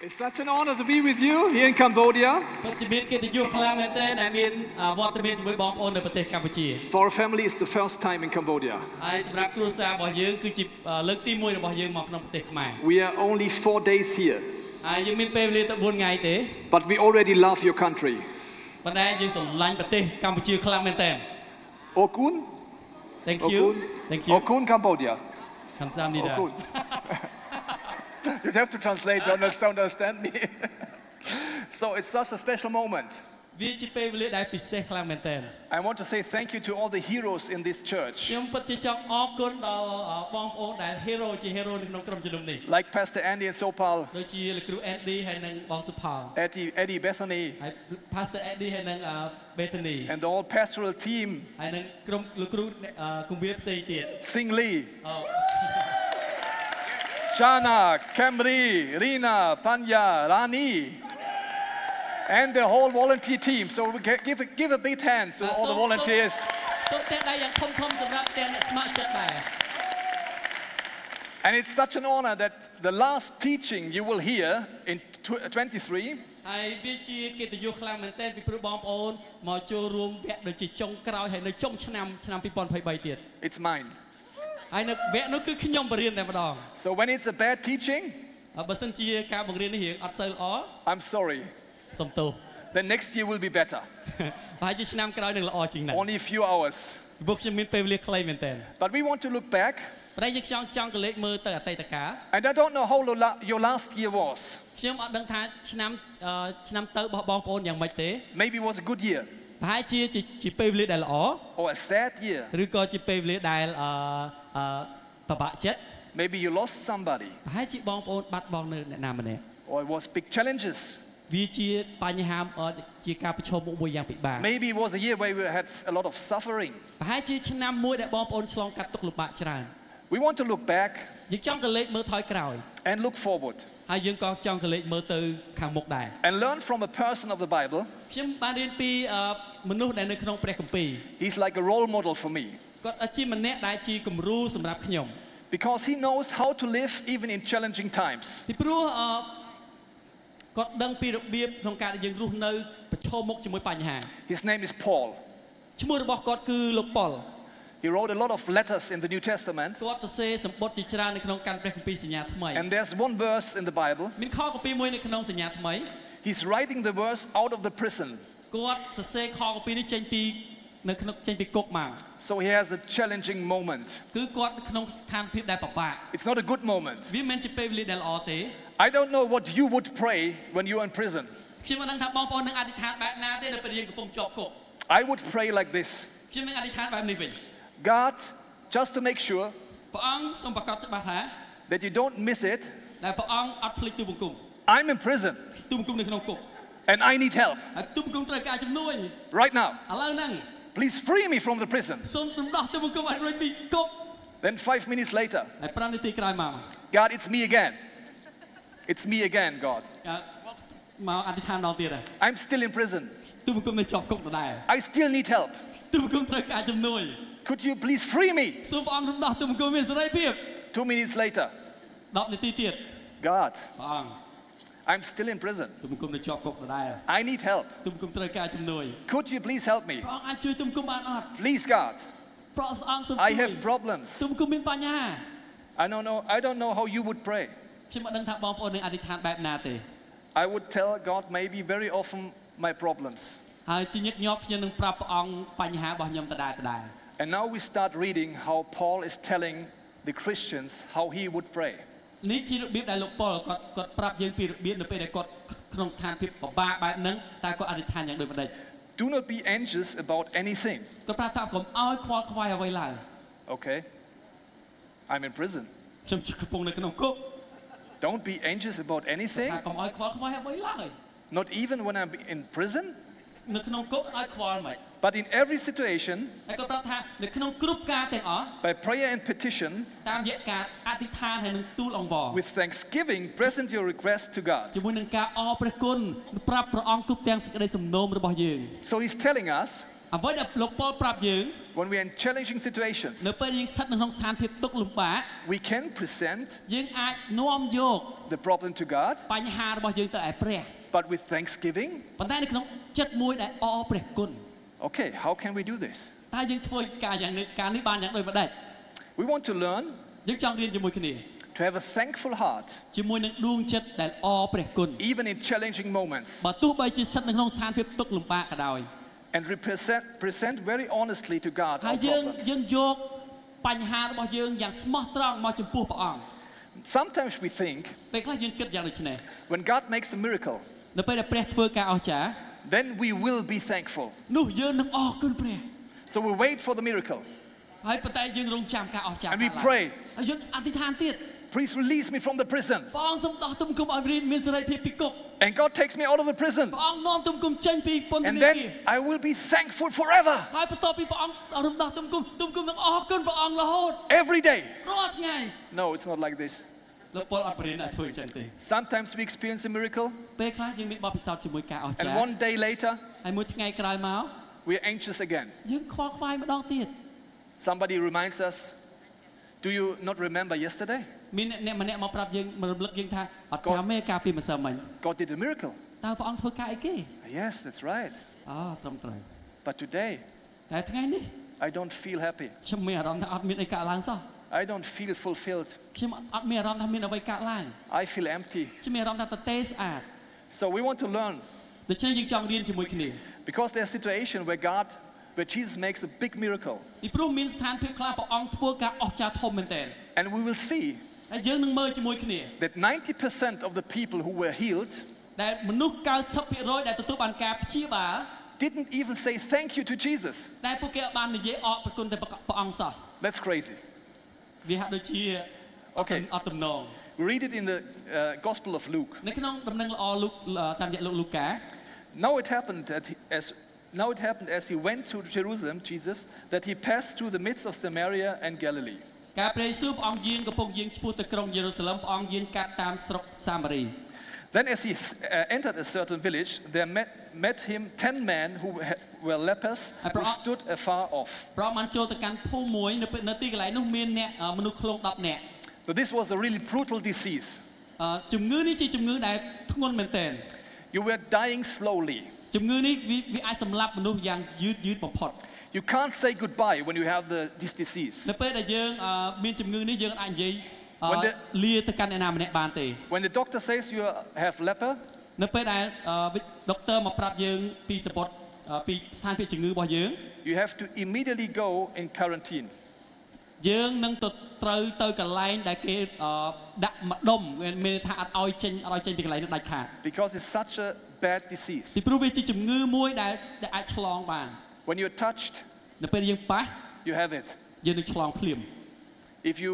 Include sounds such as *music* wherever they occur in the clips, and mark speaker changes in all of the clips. Speaker 1: It's such an honor to be with you here in Cambodia
Speaker 2: ពិតជាមានកិត្តិយសខ្លាំងមែនទែនដែលមានអ่าវត្តមានជាមួយបងប្អូននៅប្រទេសកម្ពុជា
Speaker 1: for our family it's the first time in Cambodia
Speaker 2: ហើយសម្រាប់គ្រួសាររបស់យើងគឺជាអ่าលើកទី1របស់យើងមកក្នុងប្រទេសខ្មែរ
Speaker 1: we are only four days here
Speaker 2: ហើយយើងមានពេលវេលាតែ4ថ្ងៃទេ
Speaker 1: but we already love your country
Speaker 2: ប៉ុន្តែយើងស្រឡាញ់ប្រទេសកម្ពុជាខ្លាំងមែនទែន
Speaker 1: Okun
Speaker 2: Thank you
Speaker 1: Okun
Speaker 2: Thank you
Speaker 1: Okun Cambodia
Speaker 2: ខំសាមនេះដែរ
Speaker 3: *laughs*
Speaker 1: Okun
Speaker 3: You'd have to translate, don't don't understand me. *laughs* so it's such a special moment.
Speaker 2: វាជាពេលវេលាដែលពិសេសខ្លាំងមែនទែន
Speaker 3: I want to say thank you to all the heroes in this church.
Speaker 2: ខ្ញុំពិតជាចង់អរគុណដល់អ่าបងប្អូនដែល hero ជា hero នៅក្នុងក្រុមជំនុំនេះ
Speaker 3: Like Pastor Andy and Sopal,
Speaker 2: ដូចជាលោកគ្រូ Andy ហើយនិងបងសុផល
Speaker 3: Eddie, Eddie Bethany,
Speaker 2: ហើយ Pastor Andy ហើយនិងអ่า Bethany
Speaker 3: and the whole pastoral team,
Speaker 2: ហើយនឹងក្រុមលោកគ្រូអ្នកអ่าគម្រាមផ្សេងទៀត
Speaker 3: Sing Lee,
Speaker 2: អូ
Speaker 3: Shana, Camry, Rina, Panya, Rani, and the whole volunteer team. So we can give, a, give a big hand to all the volunteers.
Speaker 2: សូមតែដៃយ៉ាងធំធំសម្រាប់ទាំងអ្នកស្ម័គ្រចិត្តដែរ
Speaker 3: And it's such an honor that the last teaching you will hear in tw- uh, 23
Speaker 2: ហើយវាជាកិត្តិយសខ្លាំងមែនទែនពីព្រោះបងប្អូនមកចូលរួមវគ្គដូចជាចុងក្រោយហើយនៅចុងឆ្នាំឆ្នាំ2023ទៀត
Speaker 3: It's mine.
Speaker 2: ហើយនៅវគ្គនោះគឺខ្ញុំបរៀនតែម្ដង
Speaker 3: So when it's a bad teaching,
Speaker 2: បើសិនជាការបង្រៀននេះរៀងអត់សូវល្អ
Speaker 3: I'm sorry.
Speaker 2: សុំទោស *laughs*
Speaker 3: The next year will be better.
Speaker 2: ប្រហែលជាឆ្នាំក្រោយនឹងល្អជាងនេះ
Speaker 3: Only a few hours.
Speaker 2: ពីព្រោះខ្ញុំមានពេលវេលាខ្លីមែនទែន
Speaker 3: But we want to look back.
Speaker 2: ប្រហែលជាខ្ញុំចង់កលេចមើលទៅអតីតកាល
Speaker 3: And I don't know how lo- la- your last year was.
Speaker 2: ខ្ញុំអត់ដឹងថាឆ្នាំអឺឆ្នាំទៅរបស់បងប្អូនយ៉ាងម៉េចទេ
Speaker 3: Maybe it was a good year
Speaker 2: ប្រហែលជាជាជាពេលវេលាដែលល្អ
Speaker 3: or a sad year.
Speaker 2: ឬក៏ជាពេលវេលាដែលអឺអឺពិបាកចិត្ត
Speaker 3: Maybe you lost somebody
Speaker 2: ប្រហែលជាបងប្អូនបាត់បង់នៅអ្នកណាម្នាក់
Speaker 3: or it was big challenges.
Speaker 2: វាជាបញ្ហាអឺជាការប្រឈមមុខមួយយ៉ាងពិបាក
Speaker 3: Maybe it was a year where we had a lot of suffering.
Speaker 2: ប្រហែលជាឆ្នាំមួយដែលបងប្អូនឆ្លងកាត់ទុក្ខលំបាកច្រើន
Speaker 3: We want to look back
Speaker 2: យើងចង់កលេចមើលថយក្រោយ
Speaker 3: and look forward
Speaker 2: ហើយយើងក៏ចង់កលេចមើលទៅខាងមុខដែរ
Speaker 3: and learn from a person of the Bible.
Speaker 2: ខ្ញុំបានរៀនពីអឺមនុស្សដែលនៅក្នុងព្រះគម្ពីរ
Speaker 3: He's like a role model for me
Speaker 2: គាត់ជាម្នាក់ដែលជាគំរូសម្រាប់ខ្ញុំ
Speaker 3: because he knows how to live even in challenging times.
Speaker 2: ពីព្រោះអឺគាត់ដឹងពីរបៀបក្នុងការដែលយើងរស់នៅប្រឈមមុខជាមួយបញ្ហា
Speaker 3: His name is Paul.
Speaker 2: ឈ្មោះរបស់គាត់គឺលោកប៉ុល
Speaker 3: He wrote a lot of letters in the New Testament.
Speaker 2: គាត់សរសេរសម្បត្តិជាច្រើននៅក្នុងកាន់ព្រះគម្ពីរសញ្ញាថ្មី
Speaker 3: And there's one verse in the Bible.
Speaker 2: មានខគម្ពីរមួយនៅក្នុងសញ្ញាថ្មី
Speaker 3: He's writing the verse out of the prison.
Speaker 2: គាត់សរសេរខគម្ពីរនេះចេញពីនៅក្នុងចេញពីគុកមក
Speaker 3: So he has a challenging moment.
Speaker 2: គឺគាត់នៅក្នុងស្ថានភាពដែលពិបាក
Speaker 3: It's not a good moment.
Speaker 2: វាមិនមែនជាពេលវេលាដែលល្អទេ
Speaker 3: I don't know what you would pray when you're in prison.
Speaker 2: ខ្ញុំមិនដឹងថាបងប្អូននឹងអធិដ្ឋានបែបណាទេនៅពេលយើងកំពុងជាប់គុក
Speaker 3: I would pray like this
Speaker 2: ខ្ញុំនឹងអធិដ្ឋានបែបនេះវិញ
Speaker 3: God, just to make sure
Speaker 2: ព្រះអង្គសូមប្រកាសច្បាស់ថា
Speaker 3: that you don't miss it,
Speaker 2: ដែលព្រះអង្គអត់ភ្លេចទូបង្គំ
Speaker 3: I'm in prison
Speaker 2: ទូបង្គំនៅក្នុងគុក
Speaker 3: and I need help
Speaker 2: ហើយទូបង្គំត្រូវការជំនួយ
Speaker 3: right now.
Speaker 2: ឥឡូវហ្នឹង
Speaker 3: Please free me from the prison.
Speaker 2: សូមរំដោះទូបង្គំឲ្យរួចពីគុក
Speaker 3: Then, five minutes later,
Speaker 2: ហើយ5នាទីក្រោយមក
Speaker 3: God, it's me again. It's me again, God.
Speaker 2: អឺមកអធិដ្ឋានដល់ទៀតហើយ
Speaker 3: I'm still in prison.
Speaker 2: ទូបង្គំនៅជាប់គុកដដែល
Speaker 3: I still need help.
Speaker 2: ទូបង្គំត្រូវការជំនួយ
Speaker 3: Could you please free me?
Speaker 2: សូមព្រះអង្គរំដោះទូបង្គំមានសេរីភាព
Speaker 3: Two minutes later,
Speaker 2: 10នាទីទៀត
Speaker 3: God,
Speaker 2: ព្រះអង្គ
Speaker 3: I'm still in prison.
Speaker 2: ទូបង្គំនៅជាប់គុកដដែល
Speaker 3: I need help.
Speaker 2: ទូបង្គំត្រូវការជំនួយ
Speaker 3: Could you please help me?
Speaker 2: ព្រះអង្គអាចជួយទូបង្គំបានអត់
Speaker 3: Please, God.
Speaker 2: ព្រះអង្គសូម
Speaker 3: I
Speaker 2: ជួយ
Speaker 3: have problems.
Speaker 2: ទូបង្គំមានបញ្ហា
Speaker 3: I don't know. I don't know how you would pray.
Speaker 2: ខ្ញុំមិនដឹងថាបងប្អូននឹងអធិដ្ឋានបែបណាទេ
Speaker 3: I would tell God maybe very often my problems.
Speaker 2: ហើយជាញឹកញាប់ខ្ញុំនឹងប្រាប់ព្រះអង្គបញ្ហារបស់ខ្ញុំដដែលៗ
Speaker 3: And now we start reading how Paul is telling the Christians how he would pray.
Speaker 2: នេះជារបៀបដែលលោកប៉ុលគាត់គាត់ប្រាប់យើងពីរបៀបនៅពេលដែលគាត់ក្នុងស្ថានភាពពិបាកបែបហ្នឹងតែគាត់អធិដ្ឋានយ៉ាងដូចម្ដេច
Speaker 3: Do not be anxious about anything.
Speaker 2: គាត់ប្រាប់ថាកុំឲ្យខ្វល់ខ្វាយអ្វីឡើយ
Speaker 3: Okay. I'm in prison.
Speaker 2: ខ្ញុំជាកំពុងនៅក្នុងគុក
Speaker 3: Don't be anxious about
Speaker 2: ថា
Speaker 3: anything.
Speaker 2: កុំឲ្យខ្វល់ខ្វាយអ្វីឡើយ
Speaker 3: Not even when I'm in prison.
Speaker 2: នៅក្នុងគុកឲ្យខ្វល់មិន
Speaker 3: But in every situation,
Speaker 2: ហើយគាត់ប្រាប់ថានៅក្នុងគ្រប់ការទាំងអស់
Speaker 3: by prayer and petition,
Speaker 2: តាមរយៈការអធិដ្ឋានហើយនឹងទូលអង្វរ
Speaker 3: with thanksgiving, present your request to God.
Speaker 2: ជាមួយនឹងការអរព្រះគុណប្រាប់ព្រះអង្គគ្រប់ទាំងសេចក្តីសំណូមរបស់យើង
Speaker 3: So he's telling us
Speaker 2: អ្វីដែលលោកប៉ុលប្រាប់យើង
Speaker 3: when we are in challenging situations,
Speaker 2: នៅពេលយើងស្ថិតនៅក្នុងស្ថានភាពទុក្ខលំបាក
Speaker 3: we can present
Speaker 2: យើងអាចនាំយក
Speaker 3: the problem to God,
Speaker 2: បញ្ហារបស់យើងទៅឯព្រះ
Speaker 3: but with thanksgiving.
Speaker 2: ប៉ុន្តែនៅក្នុងចិត្តមួយដែលអរព្រះគុណ
Speaker 3: Okay, how can we do this?
Speaker 2: តើយើងធ្វើការយ៉ាងនេះការនេះបានយ៉ាងដូចម្តេច
Speaker 3: We want to learn
Speaker 2: យើងចង់រៀនជាមួយគ្នា
Speaker 3: to have a thankful heart,
Speaker 2: ជាមួយនឹងដួងចិត្តដែលអរព្រះគុណ
Speaker 3: even in challenging moments,
Speaker 2: បើទោះបីជាស្ថិតនៅក្នុងស្ថានភាពទុក្ខលំបាកក៏ដោយ
Speaker 3: and represent, present very honestly to God
Speaker 2: ហើ
Speaker 3: our
Speaker 2: យយើង
Speaker 3: problems.
Speaker 2: យើងយកបញ្ហារបស់យើងយ៉ាងស្មោះត្រង់មកចំពោះព្រះអង្គ
Speaker 3: Sometimes we think
Speaker 2: ពេលខ្លះយើងគិតយ៉ាងដូចនេះ
Speaker 3: when God makes a miracle,
Speaker 2: នៅពេលដែលព្រះធ្វើការអស្ចារ្យ
Speaker 3: then we will be thankful.
Speaker 2: នោះយើងនឹងអរគុណព្រះ
Speaker 3: So we wait for the miracle.
Speaker 2: ហើយប៉ុន្តែយើងរងចាំការអស្ចារ្យ
Speaker 3: And we
Speaker 2: កាលឡើង
Speaker 3: pray.
Speaker 2: ហើយយើងអធិដ្ឋានទៀត
Speaker 3: Please release me from the prison.
Speaker 2: ព្រះអង្គសូមដោះទុំគុំឲ្យរៀនមានសេរីភាពពីគុក
Speaker 3: And God takes me out of the prison.
Speaker 2: ព្រះអង្គនាំទុំគុំចេញពីពន្ធនា
Speaker 3: And
Speaker 2: គារ
Speaker 3: then I will be thankful forever,
Speaker 2: ហើយបន្ទាប់ពីព្រះអង្គរំដោះទុំគុំទុំគុំនឹងអរគុណព្រះអង្គរហូត
Speaker 3: every day.
Speaker 2: រាល់ថ្ងៃ
Speaker 3: No, it's not like this.
Speaker 2: លោកពលអត់រៀនអាចធ្វើអញ្ចឹងទេ
Speaker 3: Sometimes we experience a miracle,
Speaker 2: ពេលខ្លះយើងមានបទពិសោធន៍ជាមួយការអស្ចា
Speaker 3: and
Speaker 2: រ្យ
Speaker 3: one day later,
Speaker 2: ហើយមួយថ្ងៃក្រោយមក
Speaker 3: we're anxious again.
Speaker 2: យើងខ្វល់ខ្វាយម្ដងទៀត
Speaker 3: Somebody reminds us, Do you not remember yesterday?
Speaker 2: មានអ្នកម្នាក់មកប្រាប់យើងមករំលឹកយើងថាអត់ចាំទេការពីម្សិលមិញ
Speaker 3: God did a miracle.
Speaker 2: តើព្រះអង្គធ្វើការអីគេ
Speaker 3: Yes, that's right.
Speaker 2: អូត្រឹមត្រូវ
Speaker 3: But today,
Speaker 2: តែថ្ងៃនេះ
Speaker 3: I don't feel happy.
Speaker 2: ខ្ញុំមានអារម្មណ៍ថាអត់មានអីកើតឡើងសោះ
Speaker 3: I don't feel fulfilled.
Speaker 2: ខ្ញុំអត់មានអារម្មណ៍ថាមានអ្វីកើតឡើង
Speaker 3: I feel empty.
Speaker 2: ខ្ញុំមានអារម្មណ៍ថាតេស្អាត
Speaker 3: So we want to learn
Speaker 2: ដូច្នេះយើងចង់រៀនជាមួយគ្នា
Speaker 3: because there's a situation where God, where Jesus makes a big miracle,
Speaker 2: ពីព្រោះមានស្ថានភាពខ្លះព្រះអង្គធ្វើការអស្ចារ្យធំមែនទែន
Speaker 3: and we will see
Speaker 2: ហើយយើងនឹងមើលជាមួយគ្នា
Speaker 3: that 90% of the people who were healed
Speaker 2: ដែលមនុស្ស90%ដែលទទួលបានការព្យាបាល
Speaker 3: didn't even say thank you to Jesus.
Speaker 2: ដែលពួកគេបាននិយាយអរប្រគុណទៅព្រះអង្គសោះ
Speaker 3: That's crazy.
Speaker 2: វាហាក់ដូចជាអត់
Speaker 3: Okay.
Speaker 2: អត់ទំនង
Speaker 3: We read it in the uh, Gospel of Luke.
Speaker 2: នៅក្នុងដំណឹងល្អលោកតាមរយៈលោកលូកា
Speaker 3: Now it happened that he- as now it happened as he went to Jerusalem, Jesus, that he passed through the midst of Samaria and Galilee.
Speaker 2: ការព្រះយេស៊ូវព្រះអង្គយាងកំពុងយាងឆ្ពោះទៅក្រុងយេរូសាឡិមព្រះអង្គយាងកាត់តាមស្រុកសាម៉ារី
Speaker 3: Then, as he uh, entered a certain village, there met, met him ten men who ha- were lepers
Speaker 2: I
Speaker 3: who
Speaker 2: brought-
Speaker 3: stood afar off.
Speaker 2: ព្រះអង្គបានចូលទៅកាន់ភូមិមួយនៅពេលនៅទីកន្លែងនោះមានអ្នកអ่าមនុស្សឃ្លង10នាក់
Speaker 3: So this was a really brutal disease.
Speaker 2: អ่าជំងឺនេះជាជំងឺដែលធ្ងន់មែនទែន
Speaker 3: You were dying slowly.
Speaker 2: ជំងឺនេះវាវាអាចសម្លាប់មនុស្សយ៉ាងយឺតយឺតបំផុត
Speaker 3: You can't say goodbye when you have the, this disease.
Speaker 2: នៅពេលដែលយើងអ่าមានជំងឺនេះយើងអាចនិយាយអ่า
Speaker 3: When the-
Speaker 2: លាទៅកាន់អ្នកណាម្នាក់បានទេ
Speaker 3: When the doctor says you are- have leper,
Speaker 2: នៅពេលដែលអ่าដុកទ័រមកប្រាប់យើងពីសពតអ่าពីស្ថានភាពជំងឺរបស់យើង
Speaker 3: you have to immediately go in quarantine.
Speaker 2: យើងនឹងទៅត្រូវទៅកន្លែងដែលគេអឺដាក់ម្ដុំមានន័យថាអត់ឲ្យចេញអត់ឲ្យចេញពីកន្លែងនោះដាច់ខាត
Speaker 3: Because it's such a bad
Speaker 2: ពី
Speaker 3: disease.
Speaker 2: ព្រោះវាជាជំងឺមួយដែលដែលអាចឆ្លងបាន
Speaker 3: When you're touched,
Speaker 2: នៅពេលយើងប៉ះ
Speaker 3: you have it.
Speaker 2: យើងនឹងឆ្លងភ្លាម
Speaker 3: If you,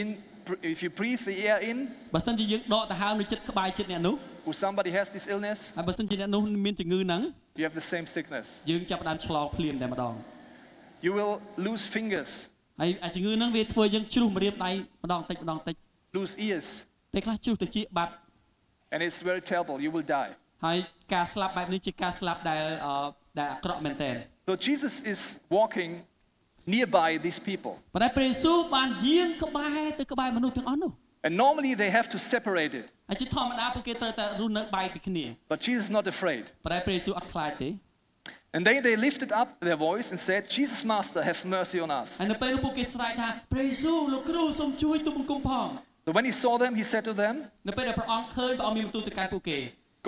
Speaker 3: in, if you breathe the air in,
Speaker 2: បើសិនជាយើងដកដង្ហើមនៅចិត្តក្បាយចិត្តអ្នកនោះ
Speaker 3: or somebody has this illness,
Speaker 2: ហើយបើសិនជាអ្នកនោះមានជំងឺហ្នឹង
Speaker 3: you have the same sickness.
Speaker 2: យើងចាប់ផ្ដើមឆ្លងភ្លាមតែម្ដង
Speaker 3: You will lose fingers,
Speaker 2: ហើយអាជំងឺហ្នឹងវាធ្វើយើងជ្រុះម្រាមដៃម្ដងតិចម្ដងតិច
Speaker 3: lose ears,
Speaker 2: ពេលខ្លះជ្រុះទៅជាបាត់
Speaker 3: and it's very terrible. You will die.
Speaker 2: ហើយការស្លាប់បែបនេះជាការស្លាប់ដែលអឺដែលអាក្រក់មែនទែន
Speaker 3: So Jesus is walking nearby these people,
Speaker 2: ប៉ុន្តែព្រះយេស៊ូវបានយាងក្បែរទៅក្បែរមនុស្សទាំងអស់នោះ
Speaker 3: and normally they have to separate it,
Speaker 2: ហើយជាធម្មតាពួកគេត្រូវតែរស់នៅបែកពីគ្នា
Speaker 3: but Jesus is not afraid.
Speaker 2: ប៉ុន្តែព្រះយេស៊ូវអត់ខ្លាចទេ
Speaker 3: And they, they lifted up their voice and said, "Jesus, Master, have mercy on us."
Speaker 2: ហើយនៅពេលនោះពួកគេស្រែកថាព្រះយេស៊ូវលោកគ្រូសូមជួយទូបង្គំផង
Speaker 3: So when he saw them, he said to them,
Speaker 2: នៅពេលដែលព្រះអង្គឃើញព្រះអង្គមានបន្ទូលទៅកាន់ពួកគេ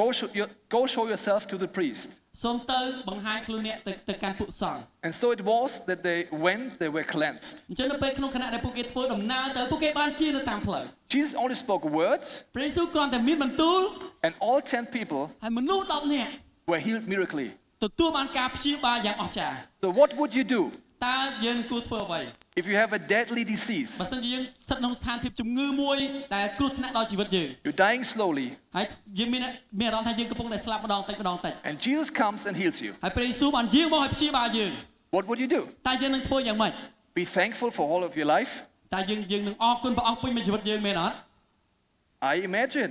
Speaker 3: "Go, show your, go show yourself to the priest."
Speaker 2: សូមទៅបង្ហាញខ្លួនអ្នកទៅទៅកាន់ពួកសង្ឃ
Speaker 3: And so it was that they went; they were cleansed.
Speaker 2: អញ្ចឹងនៅពេលក្នុងគណៈដែលពួកគេធ្វើដំណើរទៅពួកគេបានជានៅតាមផ្លូវ
Speaker 3: Jesus only spoke words,
Speaker 2: ព្រះយេស៊ូវគ្រាន់តែមានបន្ទូល
Speaker 3: and all ten people
Speaker 2: ហើយមនុស្ស10នាក់
Speaker 3: were healed miraculously.
Speaker 2: ទទួលបានការព្យាបាលយ៉ាងអស្ចារ្យ
Speaker 3: So what would you do
Speaker 2: តើយើងគួរធ្វើអ្វី
Speaker 3: if you have a deadly disease?
Speaker 2: បើសិនជាយើងស្ថិតក្នុងស្ថានភាពជំងឺមួយដែលគ្រោះថ្នាក់ដល់ជីវិតយើង
Speaker 3: You're dying slowly,
Speaker 2: ហើយយើងមានមានអារម្មណ៍ថាយើងកំពុងតែស្លាប់ម្ដងតិចម្ដងតិច
Speaker 3: and Jesus comes and heals you.
Speaker 2: ហើយព្រះយេស៊ូវបានយាងមកឲ្យព្យាបាលយើង
Speaker 3: What would you do?
Speaker 2: តើយើងនឹងធ្វើយ៉ាងម៉េច
Speaker 3: Be thankful for all of your life?
Speaker 2: តើយើងយើងនឹងអរគុណព្រះអង្គពេញមួយជីវិតយើងមែនអត់
Speaker 3: I imagine.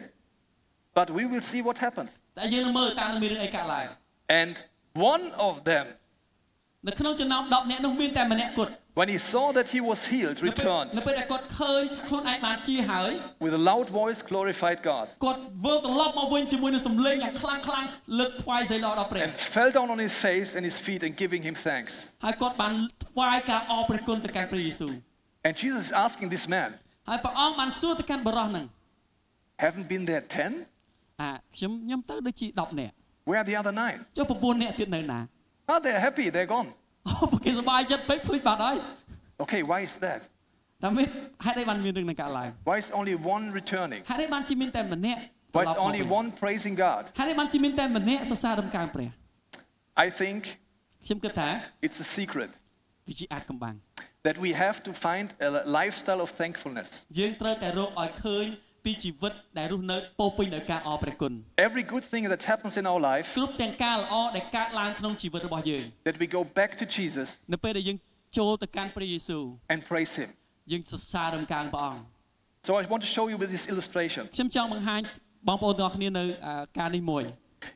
Speaker 3: But we will see what happens.
Speaker 2: តើយើងនឹងមើលតើនឹងមានរឿងអីកើតឡើង
Speaker 3: And one of them
Speaker 2: នៅក្នុងចំណោម10នាក់នោះមានតែម្នាក់គត់
Speaker 3: When he saw that he was healed,
Speaker 2: នៅ
Speaker 3: returned
Speaker 2: ពេលនៅពេលដែលគាត់ឃើញខ្លួនឯងបានជាហើយ
Speaker 3: with a loud voice, glorified God,
Speaker 2: គាត់វិលត្រឡប់មកវិញជាមួយនឹងសម្លេងយ៉ាងខ្លាំងខ្លាំងលើកថ្វាយសេរីល្អដល់ព្រះ
Speaker 3: and fell down on his face and his feet and giving him thanks.
Speaker 2: ហើយគាត់បានថ្វាយការអរព្រះគុណទៅកាន់ព្រះយេស៊ូវ
Speaker 3: And Jesus is asking this man,
Speaker 2: ហើយព្រះអង្គបានសួរទៅកាន់បរិសហ្នឹង
Speaker 3: haven't been there 10?
Speaker 2: អាខ្ញុំខ្ញុំទៅដូចជា10នាក់
Speaker 3: Where are the other nine?
Speaker 2: ចុះ9នាក់ទៀតនៅណា *laughs*
Speaker 3: Ah, they're happy, they're gone.
Speaker 2: អូពួកគេសប្បាយចិត្តពេកភ្លេចបាត់ហើយ
Speaker 3: Okay, why is that?
Speaker 2: តែមានហេតុអីបានមានរឿងហ្នឹងកើតឡើង
Speaker 3: Why is only one returning?
Speaker 2: ហេតុអីបានជាមានតែម្នាក់
Speaker 3: Why is only one praising God?
Speaker 2: ហេតុអីបានជាមានតែម្នាក់សរសើររំកើងព្រះ
Speaker 3: I think
Speaker 2: ខ្ញុំគិតថា
Speaker 3: it's a secret
Speaker 2: វាជាអាចកំបាំង
Speaker 3: that we have to find a li- lifestyle of thankfulness.
Speaker 2: យើងត្រូវតែរកឲ្យឃើញពីជីវិតដែលរស់នៅពោរពេញដោយការអរព្រះគុណ
Speaker 3: Every good thing that happens in our life,
Speaker 2: គ្រប់ទាំងការល្អដែលកើតឡើងក្នុងជីវិតរបស់យើង
Speaker 3: that we go back to Jesus
Speaker 2: នៅពេលដែលយើងចូលទៅកាន់ព្រះយេស៊ូវ
Speaker 3: and praise Him.
Speaker 2: យើងសរសើររំកើងព្រះអង្គ
Speaker 3: So I want to show you with this illustration.
Speaker 2: ខ្ញុំចង់បង្ហាញបងប្អូនទាំងអស់គ្នានៅអ่าការនេះមួយ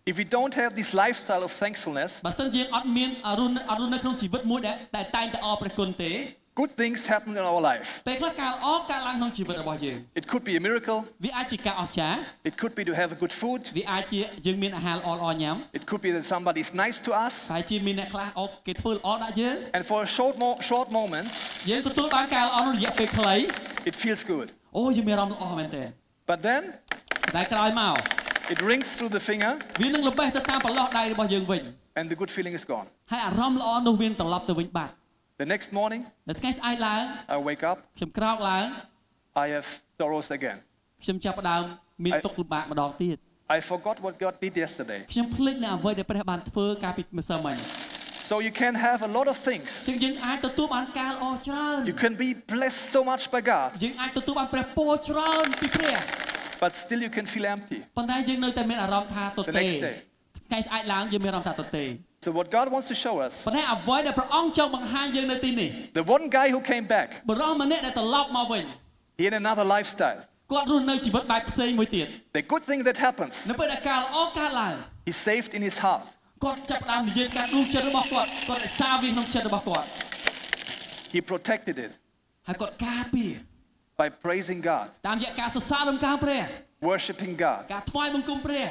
Speaker 3: If we don't have this lifestyle of thankfulness,
Speaker 2: បើសិនជាយើងអត់មានអរុណអរុណនៅក្នុងជីវិតមួយដែលដែលតែងតែអរព្រះគុណទេ
Speaker 3: good things happen in our life.
Speaker 2: ពេលខ្លះការល្អកើតឡើងក្នុងជីវិតរបស់យើង
Speaker 3: It could be a miracle,
Speaker 2: វាអាចជាការអស្ចារ្យ
Speaker 3: it could be to have a good food,
Speaker 2: វាអាចជាយើងមានអាហារល្អល្អៗញ៉ាំ
Speaker 3: it could be that somebody is nice to us.
Speaker 2: ហើយជាមានអ្នកខ្លះអូគេធ្វើល្អដាក់យើង
Speaker 3: And for a short, mo- short moment,
Speaker 2: យើងទទួលបានការល្អក្នុងរយៈពេលខ្លី
Speaker 3: it feels good.
Speaker 2: អូយើងមានអារម្មណ៍ល្អមែនទេ
Speaker 3: But then
Speaker 2: តែក្រោយមក
Speaker 3: it rings through the finger
Speaker 2: វានឹងលបេះទៅតាមប្រឡោះដៃរបស់យើងវិញ
Speaker 3: and the good feeling is gone.
Speaker 2: ហើយអារម្មណ៍ល្អនោះវានឹងត្រឡប់ទៅវិញបាត់
Speaker 3: The next morning,
Speaker 2: នៅថ្ងៃស្អែកឡើង
Speaker 3: I wake up,
Speaker 2: ខ្ញុំក្រោកឡើង
Speaker 3: I have sorrows again.
Speaker 2: ខ្ញុំចាប់ផ្ដើមមានទុក្ខលំបាកម្ដងទៀត
Speaker 3: I forgot what God did yesterday.
Speaker 2: ខ្ញុំភ្លេចនៅអ្វីដែលព្រះបានធ្វើកាលពីម្សិលមិញ
Speaker 3: So you can have a lot of things.
Speaker 2: ជាងយើងអាចទទួលបានការល្អច្រើន
Speaker 3: You can be blessed so much by God,
Speaker 2: យើងអាចទទួលបានព្រះពរច្រើនពីព្រះ
Speaker 3: but still you can feel empty.
Speaker 2: ប៉ុន្តែយើងនៅតែមានអារម្មណ៍ថាទ
Speaker 3: The
Speaker 2: ទេ
Speaker 3: next day.
Speaker 2: ថ្ងៃស្អែកឡើងយើងមានអារម្មណ៍ថាទទេ
Speaker 3: So what God wants to show us,
Speaker 2: ប៉ុន្តែអ្វីដែលព្រះអង្គចង់បង្ហាញយើងនៅទីនេះ
Speaker 3: the one guy who came back,
Speaker 2: បរិសម្នាក់ដែលត្រឡប់មកវិញ
Speaker 3: he had another lifestyle.
Speaker 2: គាត់រស់នៅជីវិតបែបផ្សេងមួយទៀត
Speaker 3: The good thing that happens,
Speaker 2: នៅពេលដែលការល្អកើតឡើង
Speaker 3: he saved in his heart.
Speaker 2: គាត់ចាប់ផ្ដើមនិយាយការឌូចិត្តរបស់គាត់គាត់រក្សាវាក្នុងចិត្តរបស់គាត់
Speaker 3: He protected it
Speaker 2: ហើយគាត់ការពារ
Speaker 3: by praising God,
Speaker 2: តាមរយៈការសរសើររំកើងព្រះ
Speaker 3: worshiping God,
Speaker 2: ការថ្វាយបង្គំព្រះ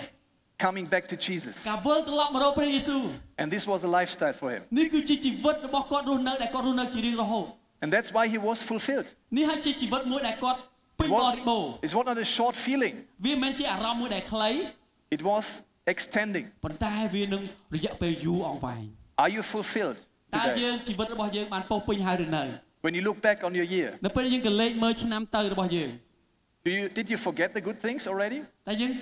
Speaker 3: coming back to Jesus.
Speaker 2: ការវិលត្រឡប់មករកព្រះយេស៊ូវ
Speaker 3: And this was a lifestyle for him.
Speaker 2: នេះគឺជាជីវិតរបស់គាត់រស់នៅដែលគាត់រស់នៅជារៀងរហូត
Speaker 3: And that's why he was fulfilled.
Speaker 2: នេះហើយជាជីវិតមួយដែលគាត់ពេញ
Speaker 3: It
Speaker 2: ប
Speaker 3: was,
Speaker 2: រិបូរណ៍
Speaker 3: it was not a short feeling,
Speaker 2: វាមិនមែនជាអារម្មណ៍មួយដែលខ្លី
Speaker 3: it was extending.
Speaker 2: ប៉ុន្តែវានឹងរយៈពេលយូរអង្វែង
Speaker 3: Are you fulfilled
Speaker 2: តើយើ
Speaker 3: today?
Speaker 2: ងជីវិតរបស់យើងបានពោរពេញហើយឬនៅ
Speaker 3: When you look back on your year,
Speaker 2: នៅពេលយើងក៏លេខមើលឆ្នាំទៅរបស់យើង
Speaker 3: do you, did you forget the good things already?
Speaker 2: តែយើង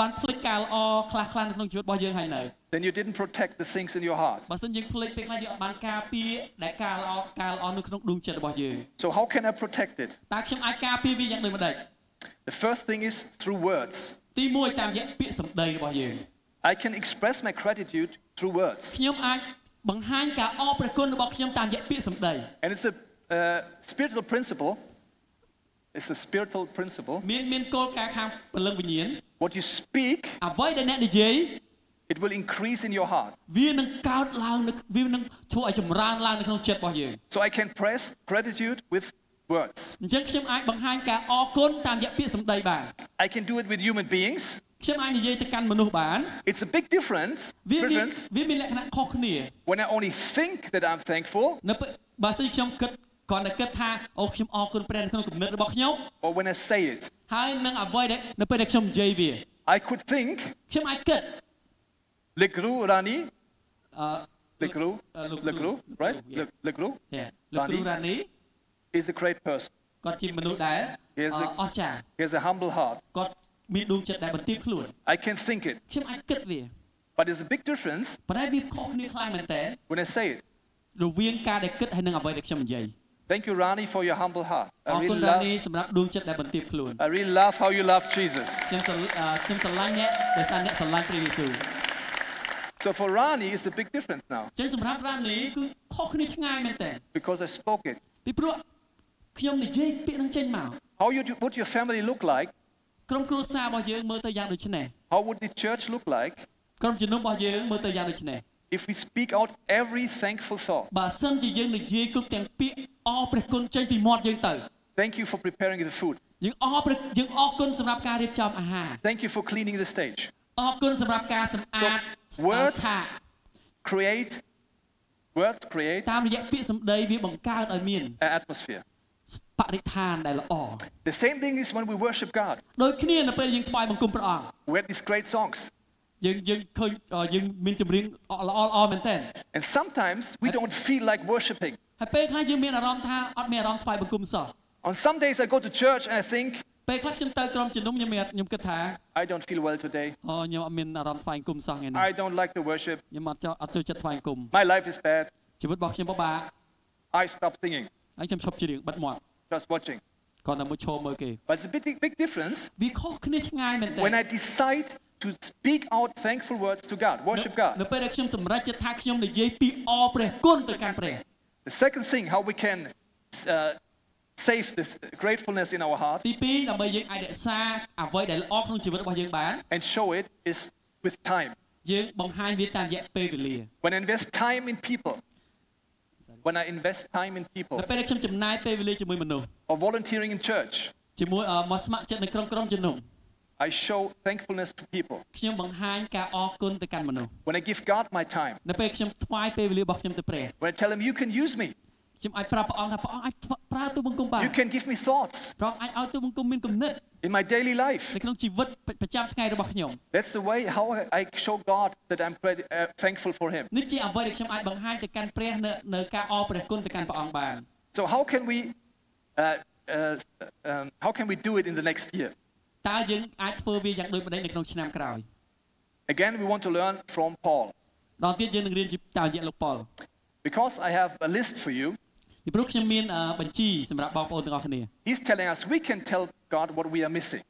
Speaker 2: បានភ្លេចការល្អខ្លះខ្លះនៅក្នុងជីវិតរបស់យើងហើយនៅ
Speaker 3: Then you didn't protect the things in your heart.
Speaker 2: បើសិនយើងភ្លេចពេលខ្លះយើងអត់បានការពារដែលការល្អការល្អនៅក្នុងដួងចិត្តរបស់យើង
Speaker 3: So, how can I protect it?
Speaker 2: តើខ្ញុំអាចការពារវាយ៉ាងដូចម្ដេច
Speaker 3: The first thing is through words.
Speaker 2: ទី1តាមរយៈពាក្យសម្ដីរបស់យើង
Speaker 3: I can express my gratitude through words.
Speaker 2: ខ្ញុំអាចបង្ហាញការអរព្រះគុណរបស់ខ្ញុំតាមរយៈពាក្យសម្ដី
Speaker 3: And it's a uh, spiritual principle. It's a spiritual principle.
Speaker 2: មានមានគោលការណ៍ខាងពលឹងវិញ្ញាណ
Speaker 3: What you speak,
Speaker 2: អ្វីដែលអ្នកនិយាយ
Speaker 3: it will increase in your heart.
Speaker 2: វានឹងកើតឡើងនៅវានឹងធ្វើឲ្យចម្រើនឡើងនៅក្នុងចិត្តរបស់យើង
Speaker 3: So, I can press gratitude with words.
Speaker 2: អញ្ចឹងខ្ញុំអាចបង្ហាញការអរគុណតាមរយៈពាក្យសម្ដីបាន
Speaker 3: I can do it with human beings.
Speaker 2: ខ្ញុំអាចនិយាយទៅកាន់មនុស្សបាន
Speaker 3: It's a big difference.
Speaker 2: វាមាន
Speaker 3: difference
Speaker 2: វាមានលក្ខណៈខុសគ្នា
Speaker 3: when I only think that I'm thankful
Speaker 2: នៅពេលបើសិនខ្ញុំគិតគ្រាន់តែគិតថាអូខ្ញុំអរគុណព្រះនៅក្នុងគំនិតរបស់ខ្ញុំ
Speaker 3: or when I say it.
Speaker 2: ហើយនឹងអ្វីដែលនៅពេលដែលខ្ញុំនិយាយវា
Speaker 3: I could think,
Speaker 2: ខ្ញុំអាចគិត
Speaker 3: Le Gru Rani,
Speaker 2: អឺ
Speaker 3: Le Gru,
Speaker 2: Uh, Le
Speaker 3: Le Gru,
Speaker 2: Gru,
Speaker 3: right?
Speaker 2: yeah.
Speaker 3: Le, Le Gru
Speaker 2: យេលោកគ្រូ
Speaker 3: Rani
Speaker 2: រ៉ានី
Speaker 3: is a great person.
Speaker 2: គាត់ជាមនុស្សដែល
Speaker 3: Yes,
Speaker 2: អឺអស្ចារ្យ
Speaker 3: He has a humble heart.
Speaker 2: គាត់មានដួងចិត្តដែលបន្ទាបខ្លួន
Speaker 3: I can think it,
Speaker 2: ខ្ញុំអាចគិតវា
Speaker 3: but it's a big difference
Speaker 2: ប៉ុន្តែវាខុសគ្នាខ្លាំងមែនតើ
Speaker 3: when I say it.
Speaker 2: រវាងការដែលគិតហើយនឹងអ្វីដែលខ្ញុំនិយាយ
Speaker 3: Thank you, Rani, for your humble heart.
Speaker 2: អ
Speaker 3: I
Speaker 2: រគុណ
Speaker 3: really
Speaker 2: រ៉ានី
Speaker 3: love,
Speaker 2: សម្រាប់ដួងចិត្តដែលបន្ទាបខ្លួន
Speaker 3: I really love how you love Jesus.
Speaker 2: ខ្ញុំស្រអឺខ្ញុំស្រឡាញ់អ្នកដែលសារអ្នកស្រឡាញ់ព្រះយេស៊ូវ
Speaker 3: So for Rani, it's a big difference now
Speaker 2: ចឹងសម្រាប់រ៉ានីគឺខុសគ្នាឆ្ងាយមែនតើ
Speaker 3: because I spoke it.
Speaker 2: ពីព្រោះខ្ញុំនិយាយពាក្យនឹងចេញមក
Speaker 3: How you, would your family look like?
Speaker 2: ក្រុមគ្រួសាររបស់យើងមើលទៅយ៉ាងដូចនេះ
Speaker 3: How would the church look like
Speaker 2: ក្រុមជំនុំរបស់យើងមើលទៅយ៉ាងដូចនេះ
Speaker 3: if if we speak out every thankful thought.
Speaker 2: បើសិនជាយើងនិយាយគ្រប់ទាំងពាក្យអរព្រះគុណចេញពីមាត់យើងទៅ
Speaker 3: Thank you for preparing the food.
Speaker 2: យើងអរព្រះយើងអរគុណសម្រាប់ការរៀបចំអាហារ
Speaker 3: Thank you for cleaning the stage.
Speaker 2: អរគុណសម្រាប់ការសម្អាត
Speaker 3: So, words
Speaker 2: ថា
Speaker 3: Create, words create
Speaker 2: តាមរយៈពាក្យសម្ដីវាបង្កើតឲ្យមាន
Speaker 3: an atmosphere.
Speaker 2: បរិស្ថានដែលល្អ
Speaker 3: The same thing is when we worship God.
Speaker 2: ដូចគ្នានៅពេលយើងថ្វាយបង្គំព្រះអង្គ
Speaker 3: We have these great songs.
Speaker 2: យើងយើងឃើញអឺយើងមានចម្រៀងល្អល្អមែនតើ
Speaker 3: And sometimes we don't feel like worshiping.
Speaker 2: ហើយពេលខ្លះយើងមានអារម្មណ៍ថាអត់មានអារម្មណ៍ថ្វាយបង្គំសោះ
Speaker 3: On some days I go to church and I think,
Speaker 2: ពេលខ្លះខ្ញុំទៅក្រុមជំនុំខ្ញុំមានខ្ញុំគិតថា
Speaker 3: I don't feel well today.
Speaker 2: អូខ្ញុំអត់មានអារម្មណ៍ថ្វាយបង្គំសោះថ្ងៃនេះ
Speaker 3: I don't like to worship.
Speaker 2: ខ្ញុំអត់ចូលអត់ចូលចិត្តថ្វាយបង្គំ
Speaker 3: My life is bad.
Speaker 2: ជីវិតរបស់ខ្ញុំពិបាក
Speaker 3: I stop singing,
Speaker 2: ហើយខ្ញុំឈប់ច្រៀងបិទមាត់
Speaker 3: just watching.
Speaker 2: គាត់តែមកឈរមើលគេ
Speaker 3: But it's a big, big difference
Speaker 2: វាខុសគ្នាឆ្ងាយមែនតើ
Speaker 3: when I decide to speak out thankful words to God, worship
Speaker 2: នៅ
Speaker 3: God.
Speaker 2: ពេលដែលខ្ញុំសម្រេចចិត្តថាខ្ញុំនិយាយពីអរព្រះគុណទៅកាន់ព្រះ
Speaker 3: The second thing, how we can uh, save this gratefulness in our heart
Speaker 2: ទី2ដើម្បីយើងអាចរក្សាអ្វីដែលល្អក្នុងជីវិតរបស់យើងបាន
Speaker 3: and show it is with time.
Speaker 2: យើងបង្ហាញវាតាមរយៈពេលវេលា
Speaker 3: When I invest time in people, when I invest time in people
Speaker 2: នៅពេលដែលខ្ញុំចំណាយពេលវេលាជាមួយមនុស្ស
Speaker 3: or volunteering in church,
Speaker 2: ជាមួយអឺមកស្ម័គ្រចិត្តនៅក្រុមក្រុមជំនុំ
Speaker 3: I show thankfulness to people.
Speaker 2: ខ្ញុំបង្ហាញការអរគុណទៅកាន់មនុស្ស
Speaker 3: When I give God my time,
Speaker 2: នៅពេលខ្ញុំថ្វាយពេលវេលារបស់ខ្ញុំទៅព្រះ
Speaker 3: when I tell Him, You can use me,
Speaker 2: ខ្ញុំអាចប្រាប់ព្រះអង្គថាព្រះអង្គអាចធ្វើប្រើទូបង្គំបាន
Speaker 3: you can give me thoughts
Speaker 2: ព្រះអង្គអាចឲ្យទូបង្គំមានគំនិត
Speaker 3: in my daily life.
Speaker 2: នៅក្នុងជីវិតប្រចាំថ្ងៃរបស់ខ្ញុំ
Speaker 3: That's the way how I- I show God that I'm grat- uh, thankful for Him.
Speaker 2: នេះជាអ្វីដែលខ្ញុំអាចបង្ហាញទៅកាន់ព្រះនៅនៅការអរព្រះគុណទៅកាន់ព្រះអង្គបាន
Speaker 3: So how can we, uh, uh, um, how can we do it in the next year?
Speaker 2: តើយើងអាចធ្វើវាយ៉ាងដូចម្តេចនៅក្នុងឆ្នាំក្រោយ
Speaker 3: Again, we want to learn from Paul
Speaker 2: ដល់ទៀតយើងនឹងរៀនពីតាមរយៈលោកប៉ុល
Speaker 3: because I have a list for you.
Speaker 2: ពីព្រោះខ្ញុំមានអឺបញ្ជីសម្រាប់បងប្អូនទាំងអស់គ្នា
Speaker 3: He's telling us we can tell God what we are missing,